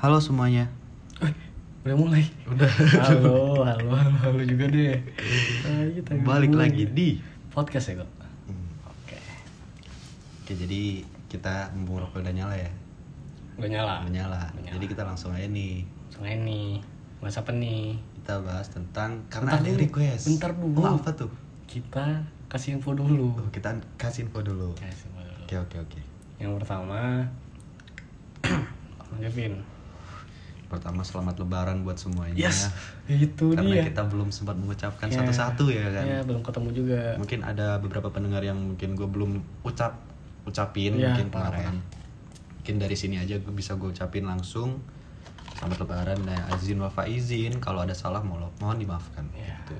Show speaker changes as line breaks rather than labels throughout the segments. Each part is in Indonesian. Halo semuanya.
Udah mulai.
Udah.
Halo, halo, halo, halo juga deh. Ayo kita
Balik
mulai.
lagi di
podcast ya kok.
Hmm.
Oke.
Oke, jadi kita mumpung rokok udah nyala ya.
Udah Ah. nyala.
Udah nyala. Jadi kita langsung aja nih.
Sungai nih. Bahas apa nih?
Kita bahas tentang karena
Bentar
ada
dulu.
request.
Bentar dulu.
Oh, apa tuh?
Kita kasih info dulu.
Oh, kita kasih info dulu.
Kasih info dulu.
Oke, oke, oke.
Yang pertama Lanjutin.
Pertama selamat lebaran buat semuanya.
Yes. Ya, Itu
Karena
dia.
kita belum sempat mengucapkan
Ya.
satu-satu ya kan.
Ya, belum ketemu juga.
Mungkin ada beberapa pendengar yang mungkin gue belum ucap ucapin
Ya,
mungkin
parah,
kemarin. Mungkin dari sini aja gue bisa gue ucapin langsung. Selamat lebaran dan azin wa faizin. Kalau ada salah mohon, mohon dimaafkan.
Ya.
Gitu.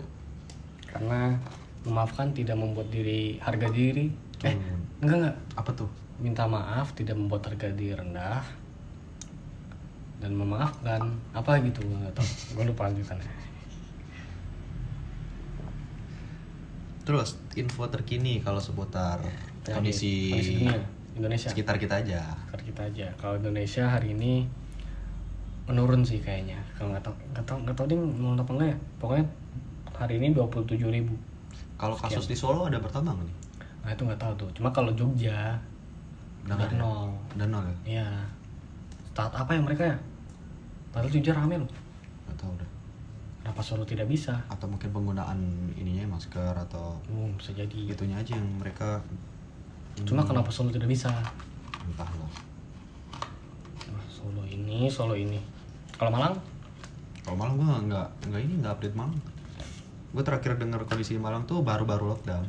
Karena memaafkan tidak membuat diri harga diri. Eh,
Tuh.
enggak enggak.
Apa tuh?
minta maaf tidak membuat harga diri rendah dan memaafkan apa gitu gue nggak tahu gue lupa lanjutannya
Terus info terkini kalau seputar
Tadi,
kondisi,
Iya, kondisi Ya. dunia Indonesia sekitar.
sekitar kita aja.
kita aja kalau Indonesia hari ini menurun sih kayaknya kalau nggak tahu nggak tahu nggak tahu ding menurun apa enggak ya pokoknya hari ini 27.000 ribu
Kalau kasus di Solo ada bertambah nggak nih?
nah itu nggak tahu tuh cuma kalau Jogja
Udah nggak
udah
ada.
nol
Ada nol ya?
iya start apa ya mereka ya padahal Jogja rame loh
Nggak tahu udah.
kenapa Solo tidak bisa
Atau mungkin penggunaan ininya masker atau
Hmm, bisa jadi
itunya aja yang mereka
Cuma
Hmm.
kenapa Solo tidak bisa?
entahlah.
Wah, Solo ini, Solo ini. Kalau Malang?
Kalau Malang gue nggak nggak ini nggak update Malang. Gue terakhir dengar kondisi Malang tuh baru-baru lockdown.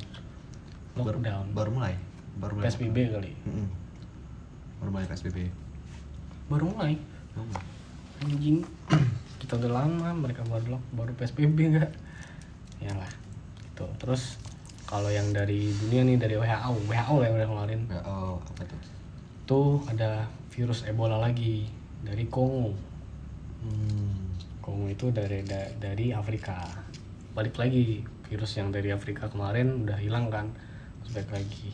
Baru-
Lockdown.
Baru, mulai. Baru mulai.
PSBB kali.
Mm-mm. Baru mulai PSBB.
Baru mulai.
Baru mulai.
Anjing. Kita udah lama, mereka baru lock- baru PSBB enggak? Yalah. Itu. Ya gitu. Terus kalau yang dari dunia nih dari WHO, WHO yang udah ngeluarin.
Ya, oh, apa tuh?
Tuh ada virus Ebola lagi dari Kongo.
Hmm.
Kongo itu dari da- dari Afrika. Balik lagi virus yang dari Afrika kemarin udah hilang kan. Terus balik lagi.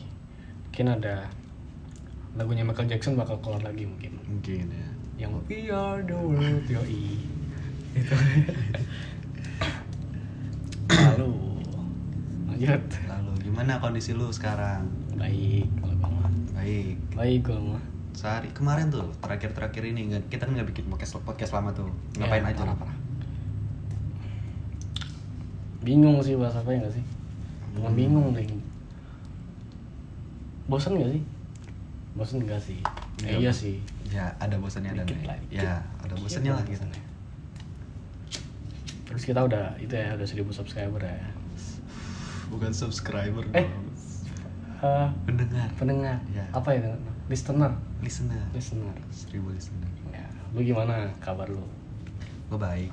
Mungkin ada lagunya Michael Jackson bakal keluar lagi mungkin.
Mungkin ya.
Yang We Are the World Yoi. Itu. Lalu lanjut.
Lalu gimana kondisi lu sekarang?
Baik kalau gua mah.
Baik.
Baik kalau mah.
Sehari kemarin tuh terakhir-terakhir ini nggak- kita kan nggak bikin podcast podcast lama tuh. Ngapain
Ya,
aja?
parah-parah. Bingung sih bahas apa ya gak sih?
Hmm.
Bukan bingung deh. Bosan gak sih? Bosan gak sih? Eh,
Iya.
iya sih.
Ya ada bosannya ada. nih.
Dikit lah, dikit.
Ya ada bosannya lah.
Iya, Bosannya. Terus kita udah itu ya udah 1000 subscriber ya.
Bukan subscriber
Eh.
dong.
Eh,
Pendengar.
pendengar.
Iya.
Apa ya? Listener.
Listener.
Listener.
Seribu listener.
Ya, lu gimana kabar lu?
Gue Oh, baik.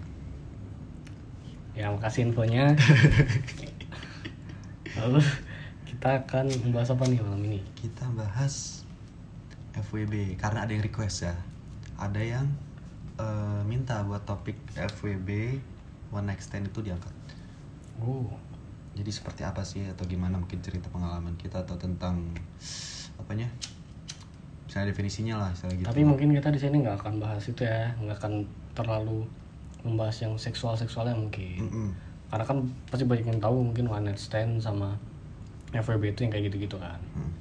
Ya, makasih infonya. Lalu kita akan membahas apa nih malam ini?
Kita bahas FWB karena ada yang request ya. Ada yang eh, minta buat topik FWB one night stand itu diangkat. Uh,
Oh,
Jadi seperti apa sih atau gimana mungkin cerita pengalaman kita atau tentang apanya? Misalnya definisinya lah, misalnya gitu.
tapi mungkin kita di sini nggak akan bahas itu ya, nggak akan terlalu membahas yang seksual seksualnya mungkin.
Mm-mm.
Karena kan pasti banyak yang tahu mungkin one night stand sama FWB itu yang kayak gitu-gitu kan,
Mm.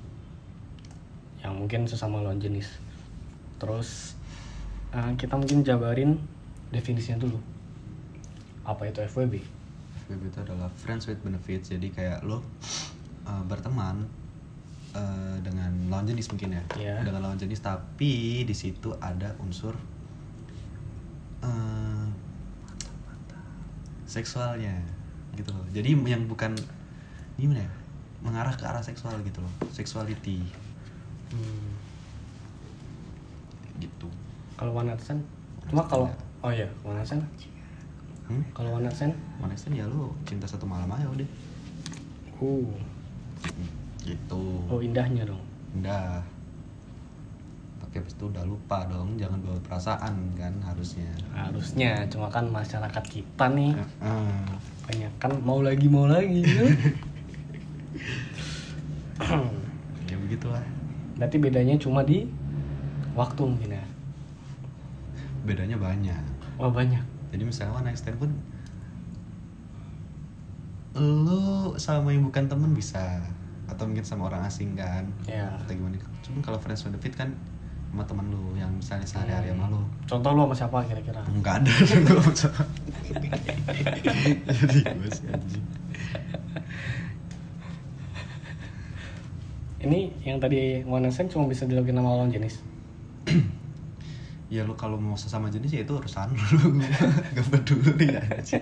yang mungkin sesama lawan jenis. Terus eh, kita mungkin jabarin definisinya dulu. Apa itu FWB?
FWB itu adalah friends with benefits jadi kayak lo uh, berteman uh, dengan lawan jenis mungkin ya
Iya.
dengan lawan jenis tapi di situ ada unsur uh, seksualnya gitu loh jadi yang bukan gimana ya mengarah ke arah seksual gitu loh sexuality
Hmm.
gitu
Kalau one night stand, cuma kalau oh iya one night stand,
hmm?
kalau one night stand,
One night stand ya lo cinta satu malam aja udah
uh,
gitu
oh indahnya dong.
udah tapi habis itu udah lupa dong jangan bawa perasaan kan harusnya
Harusnya, cuma kan masyarakat kita nih
Heeh.
banyak kan mau lagi mau lagi.
ya begitulah Ya
Berarti bedanya cuma di waktu mungkin ya
bedanya banyak
wah Oh, banyak
jadi misalnya one night stand pun lu sama yang bukan temen bisa atau mungkin sama orang asing kan
ya
atau gimana cuman kalau friends benefit kan sama temen lu yang misalnya sehari-hari
Hmm.
sama lu
contoh lu sama siapa kira-kira
nggak ada gue sama jadi gue sih anjing
ini yang tadi one night stand cuma bisa dilakuin sama lawan jenis
ya lu kalau mau sesama jenis ya itu urusan lu gak peduli anjing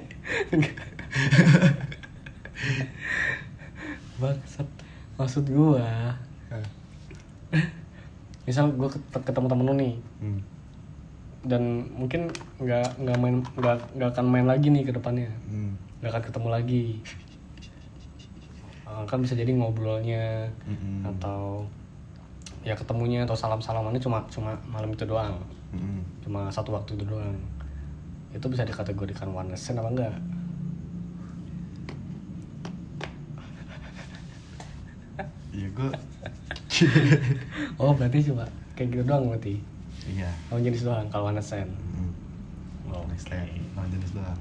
bangsat maksud gua misal gua ket- ketemu temen lu nih
hmm.
dan mungkin nggak nggak main nggak nggak akan main lagi nih ke depannya
Hmm.
nggak akan ketemu lagi Eh, kan bisa jadi ngobrolnya
Mm-mm.
atau ya ketemunya atau salam salamannya cuma cuma malam itu doang
Mm-mm.
cuma satu waktu itu doang itu bisa dikategorikan one night stand apa enggak
ya gue
oh berarti cuma kayak gitu doang berarti
iya
lawan jenis doang kalau one night stand
Hmm.
oh,
next time lawan jenis doang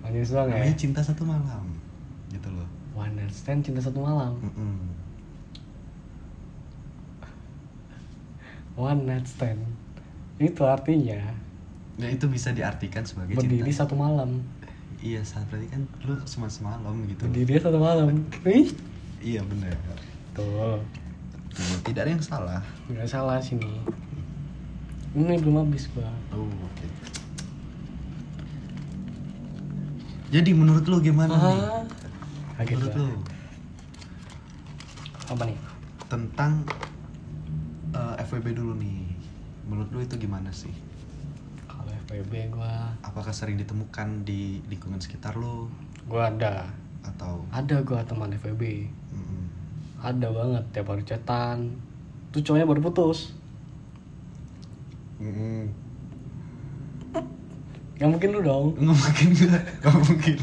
lawan jenis doang ya
namanya cinta satu malam gitu loh Hmm,
one night stand cinta satu malam
Mm-mm.
one night stand itu artinya
ya itu bisa diartikan sebagai
berdiri
cinta
satu malam
iya saat berarti kan lu cuma semalam gitu loh.
berdiri satu malam ih
iya bener
tuh
Tuh, tidak ada yang salah
nggak salah sini ini belum habis gua
oh oke jadi menurut lu gimana nih
ah kaget
menurut
gua
lu
apa nih
tentang eh, FWB dulu nih menurut lu itu gimana sih
kalau FPB gua
apakah sering ditemukan di lingkungan sekitar lu
gua ada
atau
ada gua teman FPB
Mm-mm.
ada banget tiap hari chatan tuh cowoknya baru putus
Mm-mm.
nggak mungkin lu dong
nggak mungkin gue nggak mungkin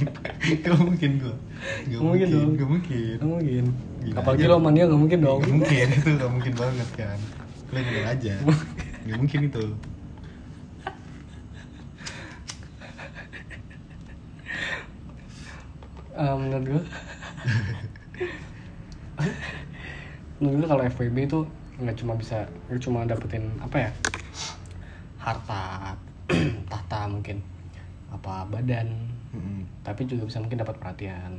nggak mungkin gue nggak
Nggak mungkin
mungkin
dong.
nggak mungkin
nggak mungkin
Gila
apalagi
aja.
lo sama dia nggak mungkin dong
nggak mungkin itu nggak mungkin banget kan lo bilang aja nggak mungkin itu
Eh, menurut gue menurut gue kalau FWB itu nggak cuma bisa nggak cuma dapetin apa ya harta tahta mungkin apa badan
Mm-mm.
tapi juga bisa mungkin dapat perhatian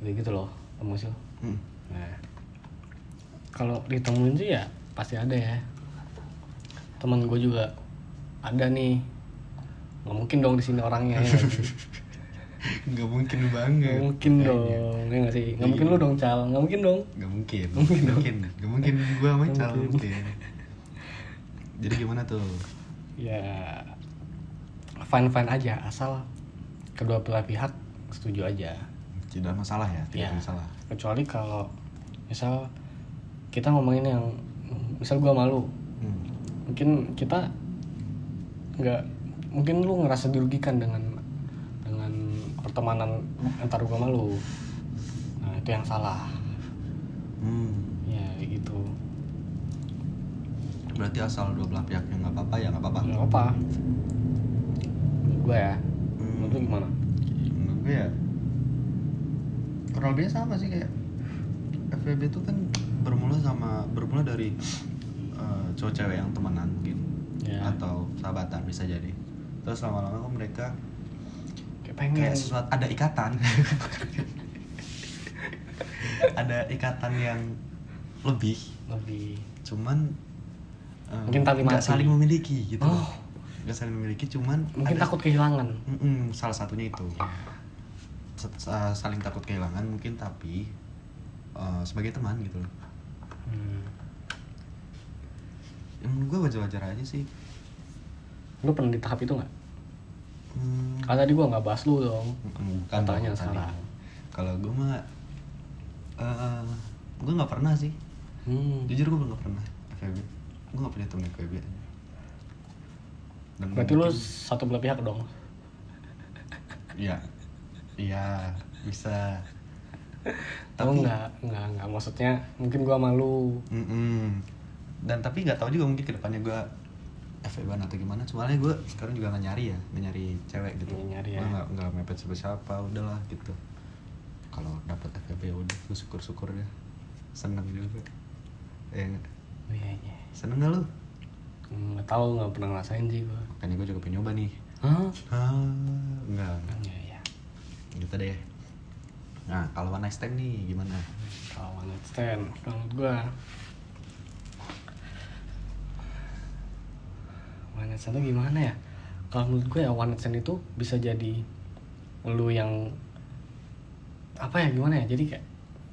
gitu gitu loh emosi lo
Mm.
nah kalau ditemuin sih ya pasti ada ya teman gue juga ada nih nggak mungkin dong di sini orangnya ya nggak sih?
nggak mungkin banget Eh,
Nggak mungkin
Iya,
dong, ya nggak sih? Nggak mungkin lu dong, Cal. Nggak mungkin dong.
nggak mungkin mungkin mungkin nggak mungkin gue sama Cal
Nggak mungkin.
mungkin jadi gimana tuh
Ya, fine-fine aja, asal kedua belah pihak setuju aja.
tidak masalah ya tidak
Ya.
masalah
Kecuali kalau, misal, kita ngomongin yang, misal gua malu,
Hmm.
mungkin kita nggak, mungkin lu ngerasa dirugikan dengan dengan pertemanan antar gua malu. Nah, itu yang salah.
Hmm.
Ya, kayak gitu.
berarti asal dua belah pihak yang nggak apa-apa ya nggak apa-apa
Nggak apa. Gue ya. Menurut lu gimana?
menurut gue Hmm. ya kurang lebih sama sih kayak FVB itu kan bermula sama bermula dari eh, cowok cewek yang temenan mungkin
Ya.
atau sahabatan bisa jadi terus lama-lama kok mereka
Kayak pengen.
kayak sesuatu ada ikatan ada ikatan yang lebih
lebih.
cuman eh,
Mungkin tali
nggak
mati.
saling memiliki gitu
Oh.
nggak saling memiliki cuman
Mungkin
ada-
takut kehilangan.
Mm-mm, salah satunya itu Sa- sa- saling takut kehilangan mungkin tapi eh, sebagai teman gitu loh
Hmm.
yang Ya, menurut gue wajar-wajar aja sih
Lu pernah di tahap itu nggak?
hmm,
Karena tadi gua nggak bahas lu Kan dong.
mm, bukan
Katanya
dong tadi.
sekarang.
kalau gue mah eh gue nggak pernah sih
Hmm.
jujur gue nggak pernah FWB gue nggak punya temen FWB dan
Berarti lu
mungkin-
satu belah pihak dong.
iya iya bisa
Tapi nggak nggak nggak maksudnya mungkin gua malu.
Mm-mm. Dan tapi nggak tahu juga mungkin kedepannya gue FEB-an atau gimana soalnya gue sekarang juga nggak nyari ya nggak nyari cewek gitu
Nggak nyari
Gua
ya.
nggak nggak mepet siapa siapa udahlah gitu kalau dapet FEB ya udah gue syukur syukur deh seneng juga ya
Iya, iya.
seneng gak lu
nggak tahu nggak pernah ngerasain sih gua
makanya gue juga pengen nyoba nih
Hah?
ah enggak enggak.
Iya, iya.
gitu deh nah kalau one night stand nih gimana
Kalau one night stand, kalau menurut gua one night stand tuh gimana ya? Kalau menurut gue ya one night stand itu bisa jadi lu yang apa ya gimana ya? Jadi kayak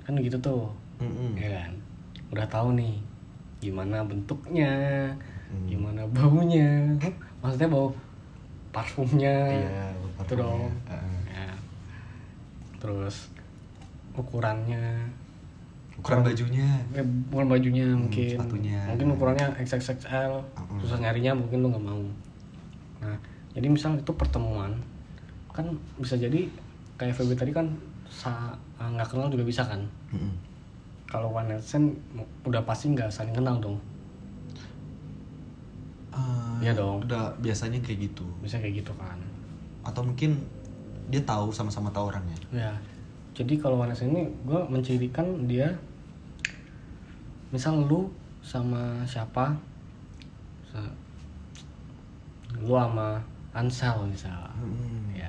kan gitu tuh,
Mm-mm.
ya kan? Udah tahu nih gimana bentuknya,
Hmm.
gimana baunya, maksudnya bau parfumnya,
Iya, eh. bau
itu
parfumnya.
dong.
Heeh.
Ya. Terus ukurannya
ukuran bajunya
Eh, bukan bajunya mungkin
sepatunya.
mungkin ukurannya XXXL
Mm.
susah nyarinya mungkin lu nggak mau nah jadi misal itu pertemuan kan bisa jadi kayak FB tadi kan sa- eh, nggak kenal juga bisa kan
Mm-mm.
kalau one night stand mu- udah pasti nggak saling kenal dong
Ah,
Iya dong.
udah biasanya kayak gitu
bisa kayak gitu kan
atau mungkin dia tahu sama-sama tahu orangnya
ya jadi kalau one night stand ini gue mencirikan dia misal lu sama siapa Sa- lu sama Ansel misal
Mm-mm.
ya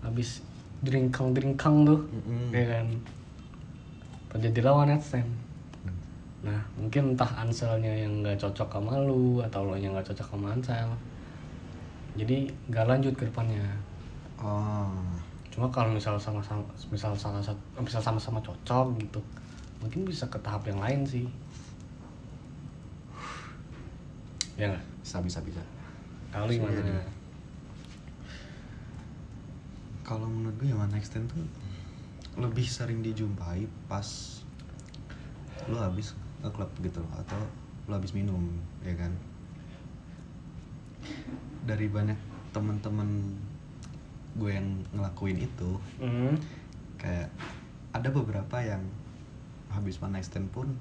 habis dringkang dringkang tuh
Mm-mm.
ya kan terjadi lawan stand nah mungkin entah anselnya yang nggak cocok sama lu atau lo yang nggak cocok sama ansel jadi nggak lanjut ke depannya
Oh,
cuma kalau misal sama sama misal salah satu misal sama-sama cocok gitu mungkin bisa ke tahap yang lain sih ya nggak
bisa bisa bisa.
kalau lu gimana
Iya. Kalau menurut gue ya one night stand tuh lebih sering dijumpai pas lu habis ke klub gitu loh, atau lu habis minum ya kan. Dari banyak temen-temen gue yang ngelakuin itu
Hmm.
kayak ada beberapa yang habis one night stand pun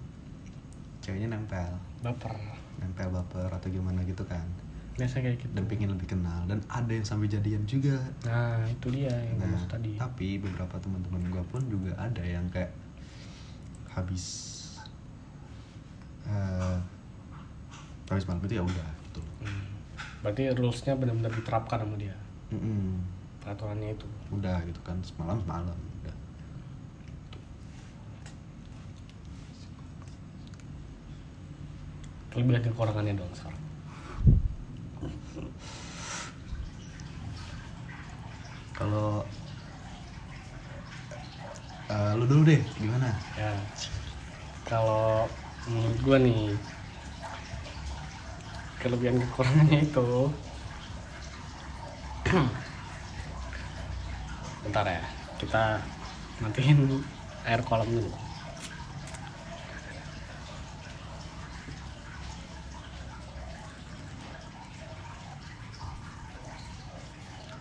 ceweknya nempel
baper
nempel baper atau gimana gitu kan
biasa kayak gitu
dan pengen lebih kenal dan ada yang sampai jadian juga
Nah, itu dia yang gue
nah
maksud tadi.
tapi beberapa teman-teman gue pun juga ada yang kayak habis eh habis malam itu ya udah gitu loh
Hmm. Berarti rules-nya benar-benar diterapkan sama dia.
Mm-mm.
Peraturannya itu.
udah gitu kan semalam semalam udah
Lebih dari kekurangannya dong sekarang.
kalau eh, lu dulu deh gimana
Ya. Kalau menurut gue nih kelebihan kekurangannya itu bentar ya kita matiin air kolam dulu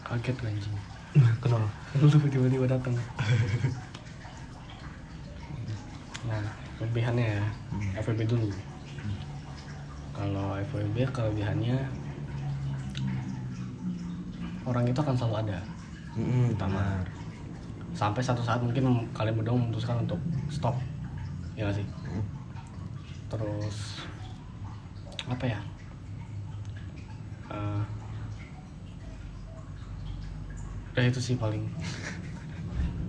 kaget gue anjing
kenal
lu tiba-tiba datang nah kelebihannya ya FWB dulu kalau FWB kelebihannya orang itu akan selalu ada
tamar
sampai satu saat mungkin kalian berdua memutuskan untuk stop ya nggak sih terus apa ya Eh, udah itu sih paling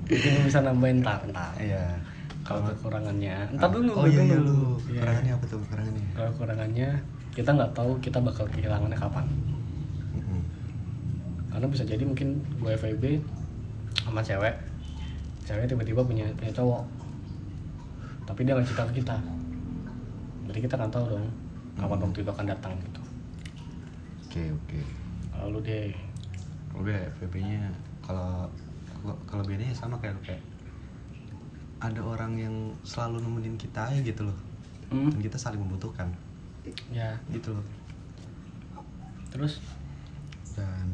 mungkin bisa nambahin ntar ntar
iya
kalau kekurangannya ntar dulu
oh
ntar
iya iya
dulu.
lu
Iya.
kekurangannya apa tuh kekurangannya
kalau kekurangannya kita nggak tahu kita bakal kehilangannya kapan
Mm-mm.
karena bisa jadi mungkin gue FIB sama cewek cewek tiba-tiba punya punya cowok tapi dia nggak cerita ke kita berarti kita nggak tahu dong kapan waktu itu akan datang gitu
oke oke
lalu deh
kalau gue FVP-nya kalau kalau- kelebihannya ya sama kayak lu, kayak ada orang yang selalu nemenin kita aja gitu loh
hmm,
dan kita saling membutuhkan
ya
gitu loh
terus
dan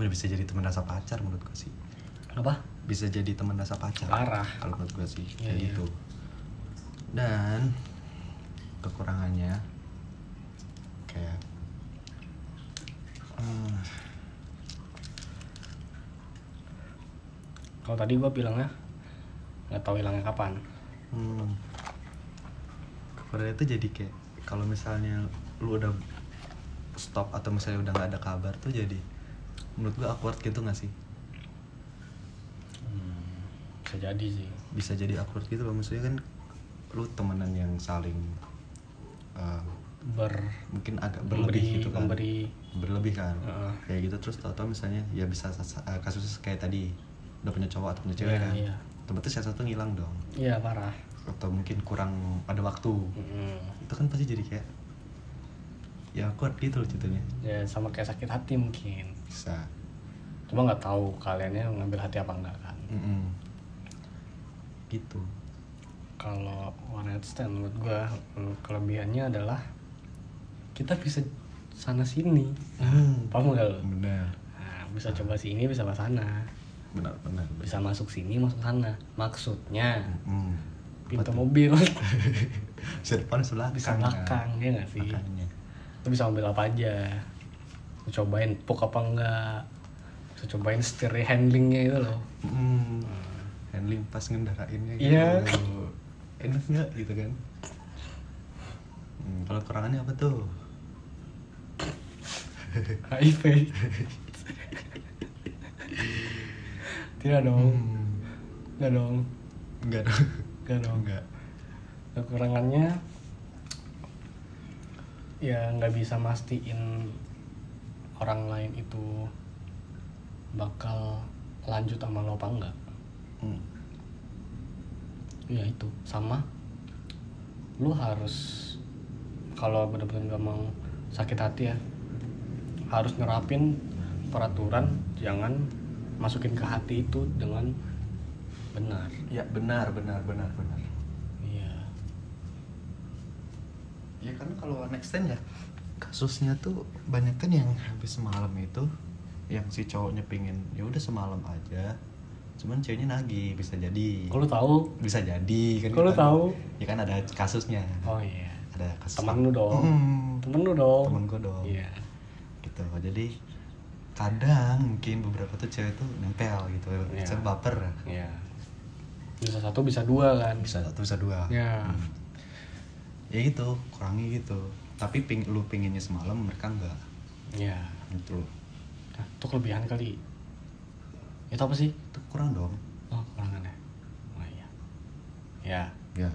udah bisa jadi teman dasar pacar menurut gue sih
apa
bisa jadi teman dasar pacar
Parah.
kalau menurut gue sih
Iya,
kayak
iya.
gitu dan kekurangannya ah,
kalau tadi gue bilangnya nggak tahu hilangnya kapan
hmm. Korea itu jadi kayak kalau misalnya lu udah stop atau misalnya udah nggak ada kabar tuh jadi menurut gua awkward gitu nggak sih Hmm.
bisa jadi sih
bisa jadi awkward gitu loh maksudnya kan lu temenan yang saling eh,
ber
mungkin agak
memberi
berlebih gitu kan
memberi
berlebih kan
Heeh.
kayak gitu terus tau-tau misalnya ya bisa sas- eh, kasusnya kayak tadi udah punya cowok atau punya cewek
Iya,
kan
iya.
Tempatnya salah satu ngilang dong
iya parah Hmm.
atau mungkin kurang ada waktu
Mm-mm.
itu kan pasti jadi kayak ya awkward gitu loh ceritanya
ya sama kayak sakit hati mungkin
bisa
cuma nggak tahu kaliannya ngambil hati apa enggak kan
Mm-mm. gitu
kalau one night stand menurut gue kelebihannya adalah kita bisa sana sini paham nggak lo
benar
nah, bisa coba sini bisa ke sana
benar benar
bisa masuk sini masuk sana maksudnya
Mm.
pintu mobil
bisa depan sebelah
bisa belakang ya nggak sih
makanya
lu bisa ambil apa aja lu cobain pok apa enggak bisa cobain setir handlingnya itu loh
Mm. handling pas ngendarainnya
Hmm.
gitu.
Iya.
enak nggak gitu kan Mm, kalau kekurangannya apa tuh
HIV tidak dong
Hmm.
nggak dong
enggak dong
nggak dong
enggak
kekurangannya ya nggak bisa mastiin orang lain itu bakal lanjut sama lo apa enggak
Mm.
ya itu sama lu harus kalau bener-bener gak mau sakit hati ya harus nerapin peraturan jangan masukin ke hati itu dengan benar
ya benar benar benar benar
iya
ya kan kalau next time ya kasusnya tuh banyak kan yang habis semalam itu yang si cowoknya pingin ya udah semalam aja cuman ceweknya nagih bisa jadi
kalau tahu
bisa jadi kan
kalau
kita-
tahu
ya kan ada kasusnya
oh iya
ada kasus
temen lu dong
Mm,
temen lu dong
temen gua dong
iya
gitu jadi kadang mungkin beberapa tuh cewek tuh nempel gitu
Iya.
Cewek baper
iya bisa satu bisa dua kan
bisa satu bisa dua Hmm.
ya
ya gitu kurangi gitu tapi ping lu pinginnya semalam mereka enggak
ya
gitu loh
nah, itu kelebihan kali itu apa sih
itu kurang dong
Oh, kekurangannya. Oh iya. Ya,
ya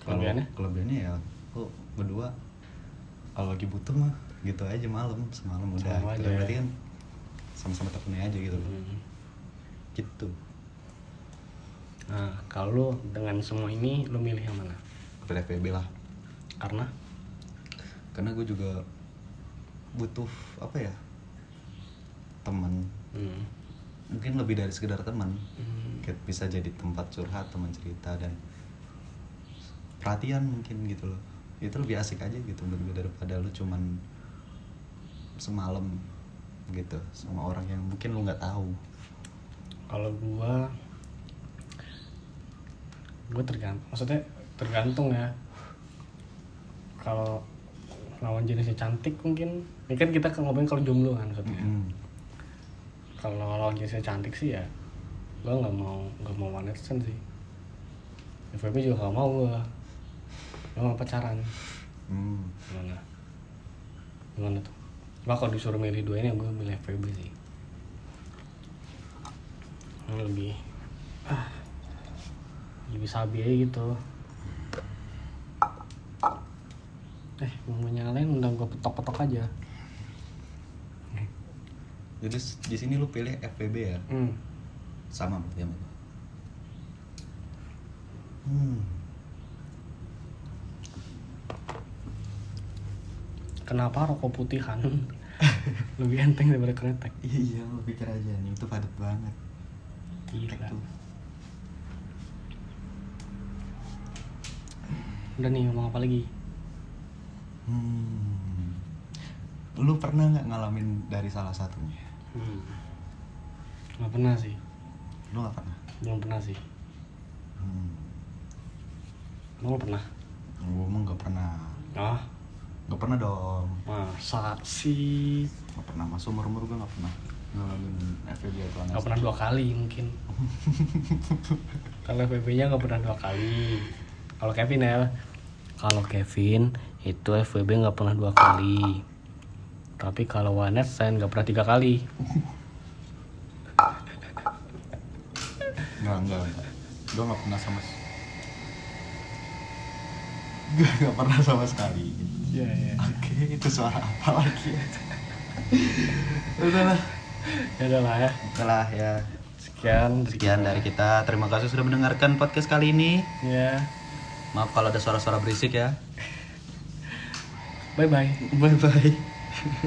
Kalau-
Kelebihannya?
kelebihannya ya lu berdua kalau lagi butuh mah gitu aja malam semalam udah
Sama
gitu.
aja.
berarti kan sama-sama temennya aja gitu loh
Hmm.
gitu
Nah, kalau lu dengan semua ini lu milih yang mana?
pilih FPB lah
Karena
karena gue juga butuh apa ya teman
hmm,
mungkin lebih dari sekedar teman
hmm,
Kayak bisa jadi tempat curhat teman cerita dan perhatian mungkin gitu loh itu lebih asik aja gitu menurut gue daripada lu cuman semalam gitu sama orang yang mungkin lu nggak tahu
kalau gua gua tergantung maksudnya tergantung ya. Kalau lawan jenisnya cantik mungkin ini kan kita ngomongin kalau jomblo kan maksudnya.
Mm-mm.
kalau lawan jenisnya cantik sih ya gue nggak mau nggak mau one night stand sih FVP juga gak mau gue gue mau pacaran
Hmm.
gimana gimana tuh Cuma kalau disuruh milih dua ini gue milih FVP sih Yang lebih ah, lebih sabi aja gitu eh mau nyalain udah gue petok-petok aja
jadi s- di sini lu pilih FPB ya
hmm.
sama berarti sama gua. hmm.
kenapa rokok putihan lebih enteng daripada kretek
iya iya lu pikir aja nih itu padat banget
Gila.
Tuh.
Udah nih ngomong apa lagi?
Hmm. Lu pernah nggak ngalamin dari salah satunya?
Hmm. Gak pernah sih,
Lu nggak pernah.
belum pernah sih.
Hmm.
Emang lo pernah?
Gue emang nggak pernah.
Ah,
Nggak pernah dong.
masa sih?
Nggak pernah. Masuk umur umur gue nggak pernah. ngalamin FVB atau
nggak
anestesi?
pernah dua kali mungkin kalau FVB nya nggak pernah dua kali kalau Kevin ya kalau Kevin itu FVB nggak pernah dua kali tapi kalau Wanet saya nggak pernah tiga kali
Enggak, enggak, enggak. Gue gak pernah sama s- Gue gak pernah sama sekali
Iya iya.
Oke, itu suara apa lagi Udah lah
Ya udah lah ya.
Oke lah ya
Sekian.
Sekian dari kita, terima kasih sudah mendengarkan podcast kali ini
Ya.
Maaf kalau ada suara-suara berisik ya
Bye bye.
Bye-bye